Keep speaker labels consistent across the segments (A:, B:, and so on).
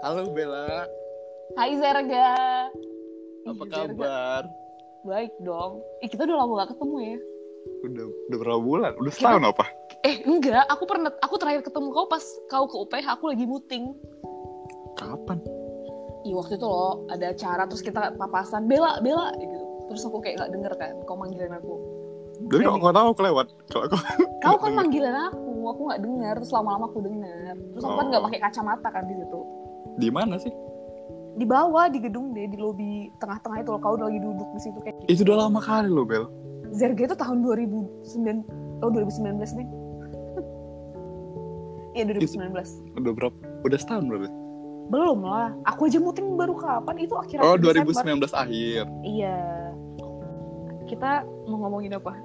A: Halo Bella,
B: Hai Zerga. Ih,
A: apa
B: Zerga.
A: kabar?
B: Baik dong. Eh, kita udah lama gak ketemu ya.
A: Udah udah berapa bulan? Udah setahun apa?
B: Eh, enggak. Aku pernah, aku terakhir ketemu kau pas kau ke UPH, aku lagi muting.
A: Kapan?
B: Ih, waktu itu loh ada acara, terus kita papasan. Bela, Bela, gitu. Terus aku kayak gak denger kan, kau manggilin aku.
A: Jadi kalau nggak tahu kelewat. Kalau aku
B: Kau
A: nggak
B: kan
A: denger.
B: manggilin aku, aku gak denger. Terus lama-lama aku denger. Terus aku kan
A: Oh.
B: gak pakai kacamata kan di situ.
A: di mana sih?
B: Di bawah, di gedung deh, di lobi tengah-tengah itu loh. Kau udah lagi duduk di situ kayak.
A: Itu udah lama kali loh Bel.
B: Zerga itu tahun 2009, oh 2019 nih. Iya 2019.
A: Udah berapa? Udah setahun berarti.
B: Belum lah. Aku aja muting baru kapan? Itu akhir
A: Oh
B: Desember.
A: 2019 akhir.
B: Iya. Kita mau ngomongin apa?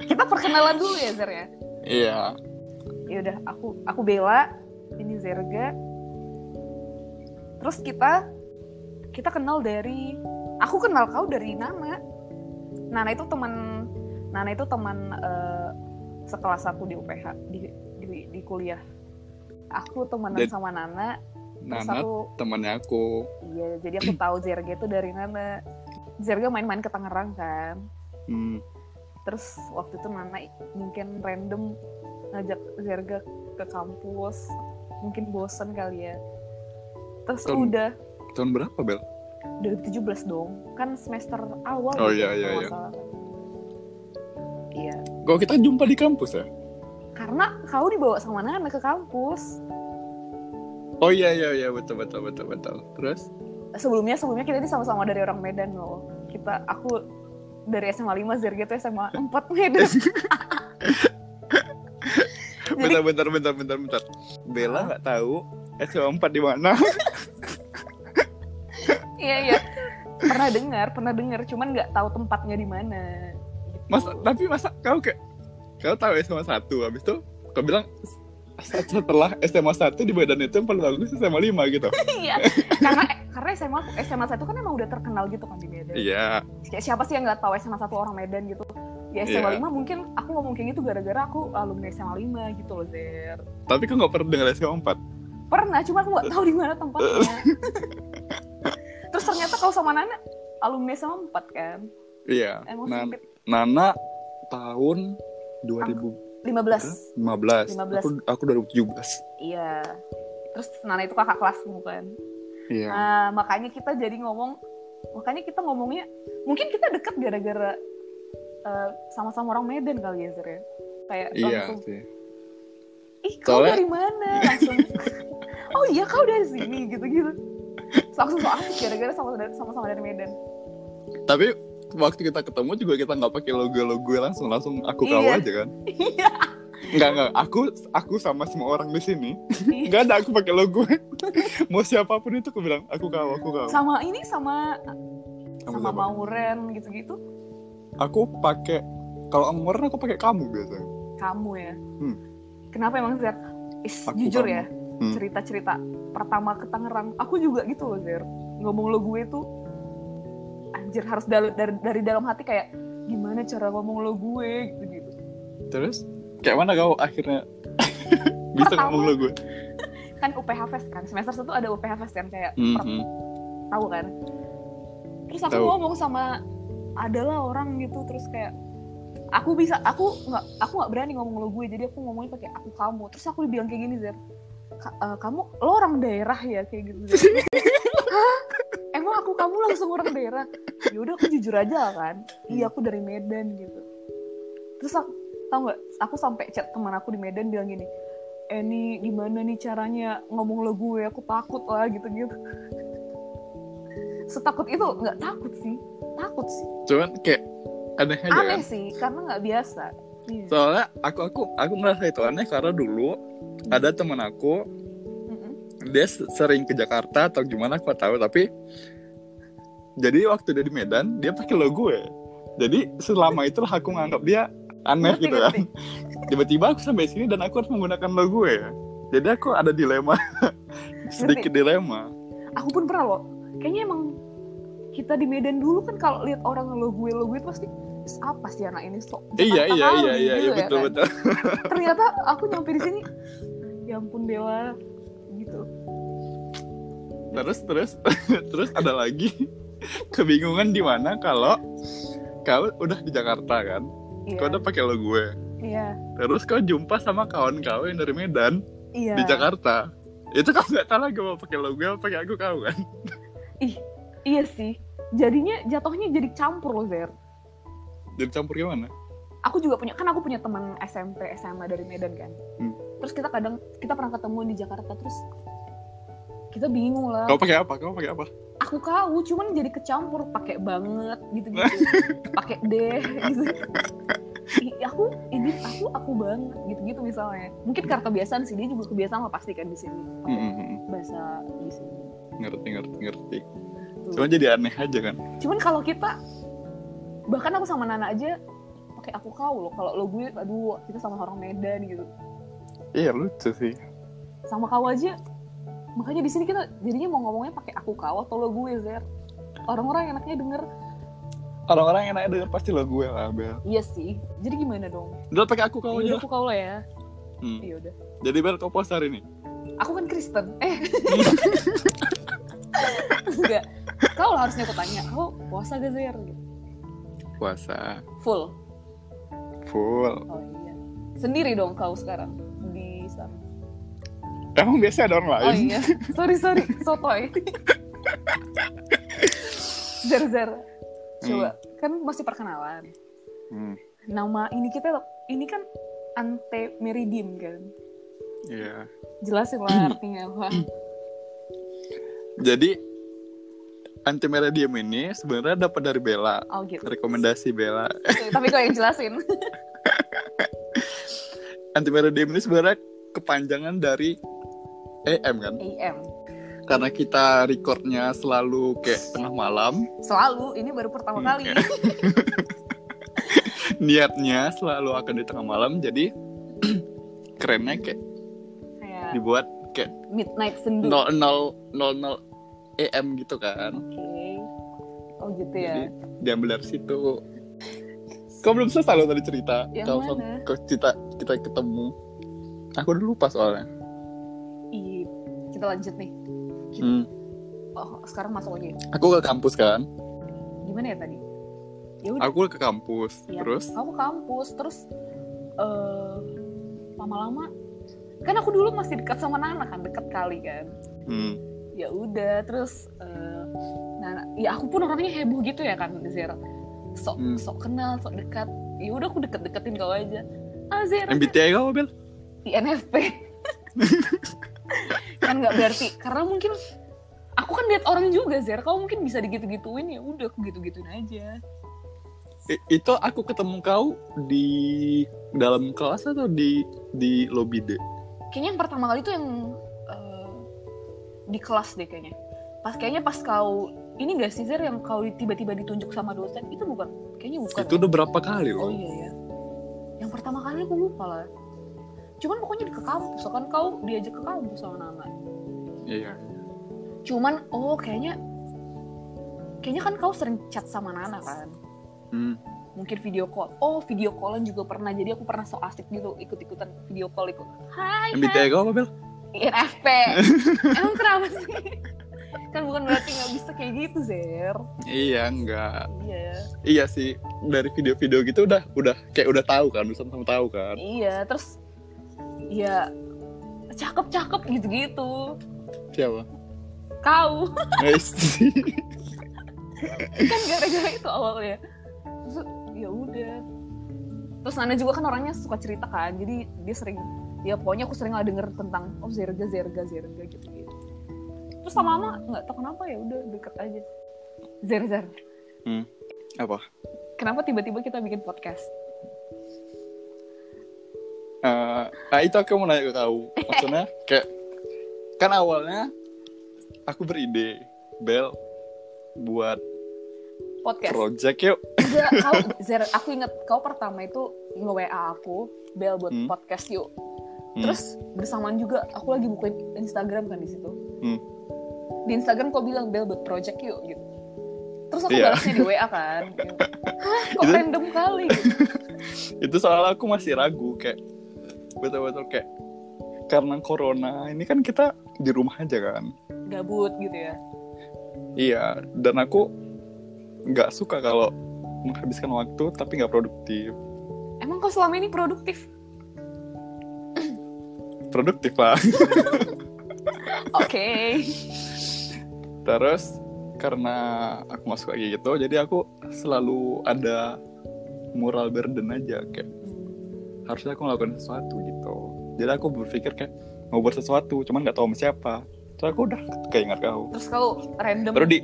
B: Kita perkenalan dulu ya Zer ya.
A: Iya.
B: Ya udah, aku aku Bella, ini Zerga. Terus kita kita kenal dari aku kenal kau dari Nana. Nana itu teman Nana itu teman eh, sekelas aku di UPH di di, di kuliah. Aku temenan
A: Dan-
B: sama Nana, terus
A: Nana
B: aku
A: temannya aku.
B: Iya, jadi aku tahu Zerga itu dari Nana. Zerga main-main ke Tangerang kan.
A: Hmm.
B: Terus waktu itu Nana mungkin random ngajak Zerga ke kampus. Mungkin bosen kali ya. Terus
A: Tahun-
B: udah
A: Tahun berapa Bel?
B: 2017 dong. Kan semester awal.
A: Oh,
B: gitu,
A: iya, iya,
B: kalau
A: iya.
B: nggak salah. Iya.
A: Kok kita jumpa di kampus ya?
B: Karena kau dibawa sama Nana ke kampus.
A: Oh iya iya iya betul betul betul betul. Terus?
B: Sebelumnya sebelumnya kita ini sama-sama dari orang Medan loh. Kita aku dari SMA 5, Zerga itu SMA 4 Medan.
A: Bentar bentar bentar bentar bentar. Bella nggak tahu SMA 4 di mana?
B: Iya iya. Pernah dengar, pernah dengar, cuman nggak tahu tempatnya di mana. Gitu.
A: Masa, tapi masa kau kayak kau tahu SMA 1 habis itu kau bilang setelah SMA 1 di badan itu yang paling bagus SMA 5 gitu.
B: Iya. karena karena SMA SMA satu kan emang udah terkenal gitu kan di Medan.
A: Iya.
B: Kayak siapa sih yang nggak tahu SMA satu orang Medan gitu? Ya
A: Iya.
B: SMA 5 mungkin aku ngomong kayak gitu gara-gara aku alumni SMA 5 gitu loh Zer.
A: Tapi kau nggak pernah dengar SMA 4.
B: Pernah, cuma aku nggak tahu di mana tempatnya. Terus ternyata kau sama Nana alumni SMA 4 kan?
A: Iya.
B: Emang
A: Nan-
B: sempit.
A: Nana tahun 2015.
B: 15. 15.
A: Aku, aku 2017.
B: Iya. Terus Nana itu kakak kelasmu kan?
A: Iya.
B: Nah, makanya kita jadi ngomong, makanya kita ngomongnya, mungkin kita deket gara-gara eh, sama-sama orang Medan kali ya, Zer ya? Kayak
A: Iya
B: langsung,
A: sih.
B: ih kau
A: Soalnya-
B: dari mana? Langsung, oh iya kau dari sini, gitu-gitu. Terus Langsung so asik gara-gara sama- sama-sama dari Medan.
A: Tapi waktu kita ketemu juga kita nggak pakai logo-logo langsung langsung aku kau
B: Iya.
A: aja kan.
B: Iya.
A: Enggak enggak, aku aku sama semua orang di sini.
B: Iya.
A: Enggak ada aku pakai logo. Mau siapapun itu aku bilang aku kau, aku kau.
B: sama ini sama
A: Kamu
B: sama
A: siapa?
B: Mauren gitu-gitu
A: aku pakai kalau orang aku pakai kamu biasanya
B: kamu ya
A: Hmm.
B: kenapa emang Zer Is,
A: Aku kamu.
B: jujur ya
A: Hmm.
B: cerita-cerita pertama ke Tangerang aku juga gitu loh Zer ngomong lo gue tuh anjir harus dal- dari, dari dalam hati kayak gimana cara ngomong lo gue gitu gitu
A: terus kayak mana kau akhirnya bisa
B: Pertama.
A: ngomong lo gue
B: kan UPH Fest kan semester satu ada UPH Fest kan kayak per-
A: Mhm.
B: tahu kan terus aku
A: Tahu.
B: ngomong sama adalah orang gitu terus kayak aku bisa aku nggak aku nggak berani ngomong lo gue jadi aku ngomongnya pakai aku kamu terus aku dibilang kayak gini Zer "Ka- eh, kamu lo orang daerah ya kayak gitu Zer. Hah? emang aku kamu langsung orang daerah ya udah aku jujur aja kan iya aku dari Medan gitu terus aku tau nggak aku sampai chat teman aku di Medan bilang gini eh nih gimana nih caranya ngomong lo gue aku takut lah gitu gitu setakut itu nggak takut sih takut sih
A: cuman kayak aneh aja
B: aneh
A: kan
B: sih karena nggak biasa Iya.
A: soalnya aku aku aku merasa itu aneh karena dulu ada teman aku
B: Mm-mm.
A: dia s- sering ke Jakarta atau gimana aku nggak tahu tapi jadi waktu dia di Medan dia pakai lo gue jadi selama itu aku nganggap dia aneh
B: Ngerti,
A: gitu kan
B: ngerti.
A: tiba-tiba aku sampai sini dan aku harus menggunakan lo gue jadi aku ada dilema sedikit dilema
B: aku pun pernah loh kayaknya emang kita di Medan dulu kan kalau lihat orang lo gue lo gue itu pasti "Is, apa sih anak ini sok
A: Iya iya
B: Jakarta kali,"
A: iya iya
B: gitu
A: iya
B: ya
A: betul
B: kan.
A: betul.
B: ternyata aku nyampe di sini ya ampun dewa gitu
A: terus terus terus ada lagi kebingungan di mana kalau kau udah di Jakarta kan
B: Iya.
A: kau udah pakai lo gue
B: Iya.
A: terus kau jumpa sama kawan kau yang dari Medan
B: Iya.
A: di Jakarta itu kau nggak tahu lagi mau pakai lo gue apa pakai aku kau kan
B: Iya sih. Jadinya jatuhnya jadi campur loh, Zer.
A: jadi campur gimana
B: Aku juga punya kan aku punya teman SMP, SMA dari Medan kan.
A: Hmm.
B: Terus kita kadang kita pernah ketemu di Jakarta terus kita bingung lah.
A: kau pakai apa kau pakai apa
B: Aku kau cuman jadi kecampur pakai banget gitu-gitu. pakai deh gitu. Ih, aku ini aku aku banget gitu-gitu misalnya. Mungkin karena kebiasaan sih dia juga kebiasaan lah pasti kan di sini.
A: Hmm,
B: Pakai
A: hmm, hmm.
B: bahasa di sini.
A: ngerti ngerti ngerti
B: Tuh.
A: cuma jadi aneh aja kan
B: cuman kalau kita bahkan aku sama Nana aja pakai aku kau loh kalau lo gue aduh kita sama orang Medan gitu
A: iya lucu sih
B: sama kau aja makanya di sini kita jadinya mau ngomongnya pakai aku kau atau lo gue Zer orang-orang enaknya denger
A: orang-orang yang nanya denger pasti lo gue lah bel
B: iya sih jadi gimana dong
A: udah pakai aku kau aja
B: Ya udah aku kau lah ya
A: Hmm.
B: iya udah
A: jadi bel kau post hari ini
B: aku kan Kristen eh enggak kau lah harusnya aku tanya kau puasa gak Zer
A: puasa
B: full
A: full
B: oh iya sendiri dong kau sekarang di sana
A: emang biasa ada orang
B: Oh
A: lain
B: iya, sorry sorry, sotoy. zer zer, coba kan masih perkenalan.
A: Hmm,
B: Nama ini kita ini kan ante meridim kan,
A: iya
B: jelasin
A: Hmm.
B: lah artinya apa.
A: Jadi anti Meridium ini sebenarnya dapat dari Bella,
B: Oh gitu.
A: rekomendasi Bella.
B: Oke, Tapi kau yang jelasin.
A: Anti Meridium ini sebenarnya kepanjangan dari AM kan?
B: AM.
A: Karena kita recordnya selalu kayak tengah malam,
B: Selalu, ini baru pertama
A: Hmm,
B: kali.
A: niatnya selalu akan di tengah malam, jadi kerennya kayak
B: Kayak
A: dibuat kayak
B: midnight sendu.
A: 00 00 AM gitu kan?
B: Oke. Oh gitu ya.
A: Jadi diambil dari situ. Kau belum selesai loh tadi cerita.
B: Yang
A: Kau-
B: mana?
A: Kau cerita kita ketemu. Aku udah lupa soalnya.
B: Ih, kita lanjut nih.
A: Hmm.
B: Oh, sekarang masuk aja.
A: aku ke kampus kan
B: Gimana ya tadi? Ya udah.
A: aku ke kampus
B: Iya.
A: terus
B: aku ke kampus terus eh, lama-lama kan aku dulu masih dekat sama Nana kan dekat kali kan
A: hmm,
B: ya udah terus eh, Nana ya aku pun orangnya heboh gitu ya kan Zer sok
A: Hmm.
B: sok kenal sok dekat ya udah aku deket-deketin kau aja ah Zer
A: MBTI kau bel
B: INFP kan nggak berarti karena mungkin aku kan lihat orang juga Zer kau mungkin bisa digitu-gituin ya udah aku gitu-gituin aja
A: I- itu aku ketemu kau di dalam kelas atau di di lobby D
B: kayaknya yang pertama kali itu yang eh, di kelas deh kayaknya pas kayaknya pas kau ini gak sih Zer yang kau tiba-tiba ditunjuk sama dosen itu bukan kayaknya bukan
A: itu udah berapa kali
B: oh
A: loh
B: iya ya yang pertama kali aku lupa lah cuman pokoknya di ke kampus kan kau diajak ke kampus sama Nana
A: iya
B: cuman oh kayaknya kayaknya kan kau sering chat sama Nana kan
A: hmm.
B: mungkin video call oh video callan juga pernah jadi aku pernah so asik gitu ikut-ikutan video call ikut hai hai,
A: MBTI kau apa bel
B: INFP. Emang kenapa sih? kan bukan berarti nggak bisa kayak gitu, Zer.
A: iya enggak
B: Iya.
A: iya sih dari video-video gitu udah udah kayak udah tahu kan udah sama-sama tahu kan
B: Iya, terus ya cakep-cakep gitu-gitu.
A: siapa
B: Kau
A: Guys.
B: kan gara-gara itu awalnya. Terus ya udah. Terus Nana juga kan orangnya suka cerita kan, jadi dia sering ya pokoknya aku sering lah denger tentang oh zerga zerga zerga gitu gitu terus lama-lama nggak tau kenapa ya udah deket aja zer zer
A: apa
B: kenapa tiba-tiba kita bikin podcast
A: Eh, nah itu aku mau nanya ke kau maksudnya kayak kan awalnya aku beride Bel buat
B: podcast
A: project yuk
B: Enggak, kau, Zer, aku inget kau pertama itu nge-WA aku, Bel buat
A: Hmm.
B: podcast yuk.
A: Hmm.
B: Terus bersamaan juga aku lagi bukain Instagram kan di situ.
A: Hmm.
B: Di Instagram kau bilang Bel buat project yuk gitu. Terus aku
A: Iya.
B: balasnya di WA kan. gitu. Hah, kok
A: Itu-
B: random kali gitu.
A: itu soalnya aku masih ragu kayak betul-betul kayak karena corona ini kan kita di rumah aja kan
B: gabut gitu ya
A: iya dan aku nggak suka kalau menghabiskan waktu tapi nggak produktif
B: emang kau selama ini produktif
A: produktif lah
B: oke
A: terus karena aku masuk kayak gitu jadi aku selalu ada moral burden aja kayak harusnya aku melakukan sesuatu gitu jadi aku berpikir kayak mau buat sesuatu cuman nggak tahu sama siapa terus aku udah keinget kau
B: terus kau random
A: baru di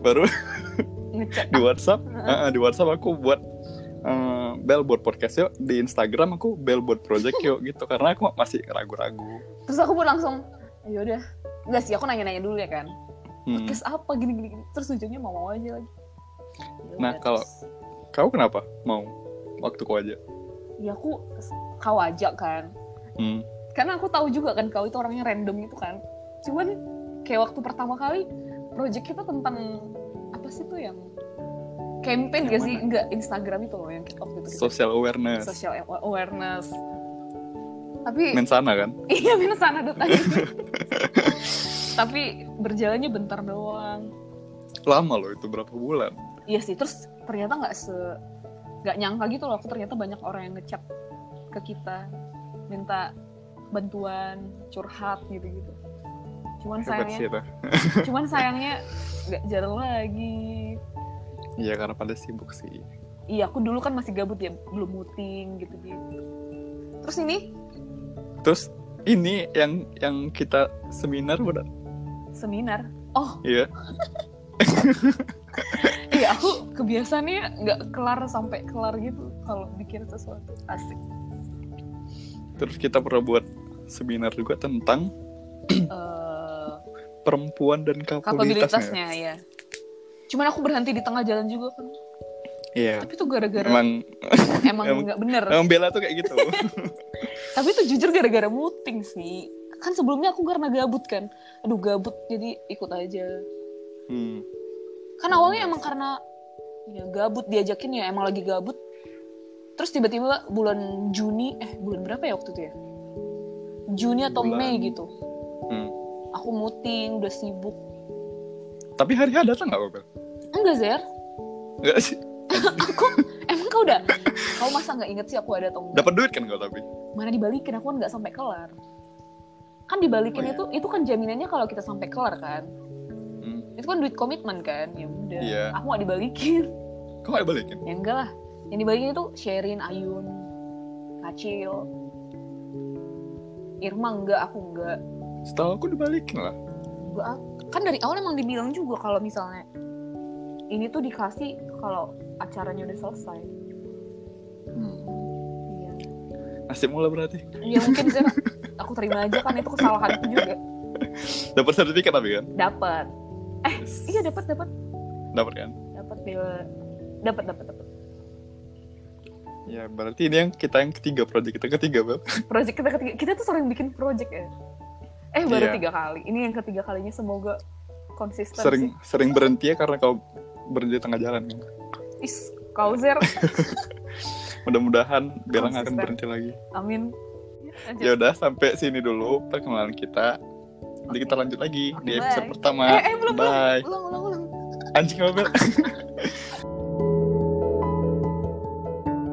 A: baru
B: ngecek
A: di WhatsApp eh, di WhatsApp aku buat eh, billboard podcast yuk di Instagram aku billboard project yuk gitu karena aku masih ragu-ragu
B: terus aku pun langsung ya udah nggak sih aku nanya-nanya dulu ya kan
A: Hmm.
B: podcast apa gini gini, gini. terus ujungnya mau mau aja lagi Ya
A: Nah,
B: udah,
A: kalau-
B: terus.
A: kau kenapa mau waktu kau aja
B: ya aku kau ajak kan
A: Hmm.
B: karena aku tahu juga kan kau itu orangnya random gitu kan cuman kayak waktu pertama kali project kita tentang apa sih tuh yang
A: Yang
B: campaign gak sih
A: mana?
B: enggak Instagram itu loh yang waktu itu kita-
A: social awareness
B: social awareness tapi
A: mensana kan
B: iya minus sana tapi berjalannya bentar doang
A: lama loh itu berapa bulan
B: iya sih terus ternyata nggak se nggak nyangka gitu loh aku ternyata banyak orang yang ngechat ke kita minta bantuan curhat gitu gitu cuman
A: hebat
B: sayangnya
A: sih itu
B: cuman sayangnya nggak jarang lagi
A: iya karena pada sibuk sih
B: iya aku dulu kan masih gabut ya belum muting gitu gitu terus ini
A: terus ini yang yang kita seminar udah
B: seminar oh
A: iya
B: iya aku kebiasaannya nggak kelar sampai kelar gitu kalau bikin sesuatu asik
A: terus kita pernah buat seminar juga tentang
B: Eh,
A: perempuan dan kapabilitasnya
B: kapabilitasnya ya cuman aku berhenti di tengah jalan juga kan
A: iya
B: tapi itu gara-gara
A: emang
B: emang
A: emang-
B: nggak bener
A: emang Bella tuh kayak gitu
B: tapi itu jujur gara-gara muting sih kan sebelumnya aku karena gabut kan aduh gabut jadi ikut aja
A: hmm.
B: kan awalnya emang karena ya gabut diajakin ya emang lagi gabut terus tiba-tiba bulan Juni eh bulan berapa ya waktu itu ya Juni atau
A: Bulan-
B: Mei gitu
A: Hmm.
B: aku muting udah sibuk
A: tapi hari H datang nggak Bel?
B: enggak Zer
A: Nggak sih
B: aku emang kau udah kau masa nggak inget sih aku ada atau enggak
A: dapat duit kan kau tapi
B: mana dibalikin aku kan nggak sampai kelar kan dibalikin
A: Oh, iya.
B: itu itu kan jaminannya kalau kita sampai kelar kan
A: hmm.
B: itu kan duit komitmen kan ya udah
A: Iya.
B: aku nggak dibalikin
A: kau nggak balikin
B: ya enggak lah yang dibagiin itu Sherin Ayun Acil Irma enggak aku enggak
A: setahu aku dibalikin lah
B: Enggak, ah. kan dari awal emang dibilang juga kalau misalnya ini tuh dikasih kalau acaranya udah selesai iya
A: nasib mula berarti
B: ya mungkin Zer, aku terima aja kan itu kesalahanku juga
A: dapat sertifikat tapi kan
B: dapat eh iya dapat dapat
A: dapat kan
B: dapat bela dapat dapat dapat
A: ya berarti ini yang kita yang ketiga proyek kita ketiga Bel
B: project kita ketiga kita tuh sering bikin project ya eh baru
A: Iya.
B: tiga kali ini yang ketiga kalinya semoga konsisten
A: sering
B: sih.
A: sering berhenti ya karena kau berhenti di tengah jalan kan
B: is kauzer
A: mudah-mudahan Bella nggak akan
B: Konsisten.
A: berhenti lagi
B: amin Lanjut.
A: ya udah sampai sini dulu perkenalan kita nanti kita lanjut lagi di
B: Oke,
A: episode
B: bye.
A: pertama
B: eh eh belum belum
A: bye
B: ulang ulang ulang
A: anjing apa Bel?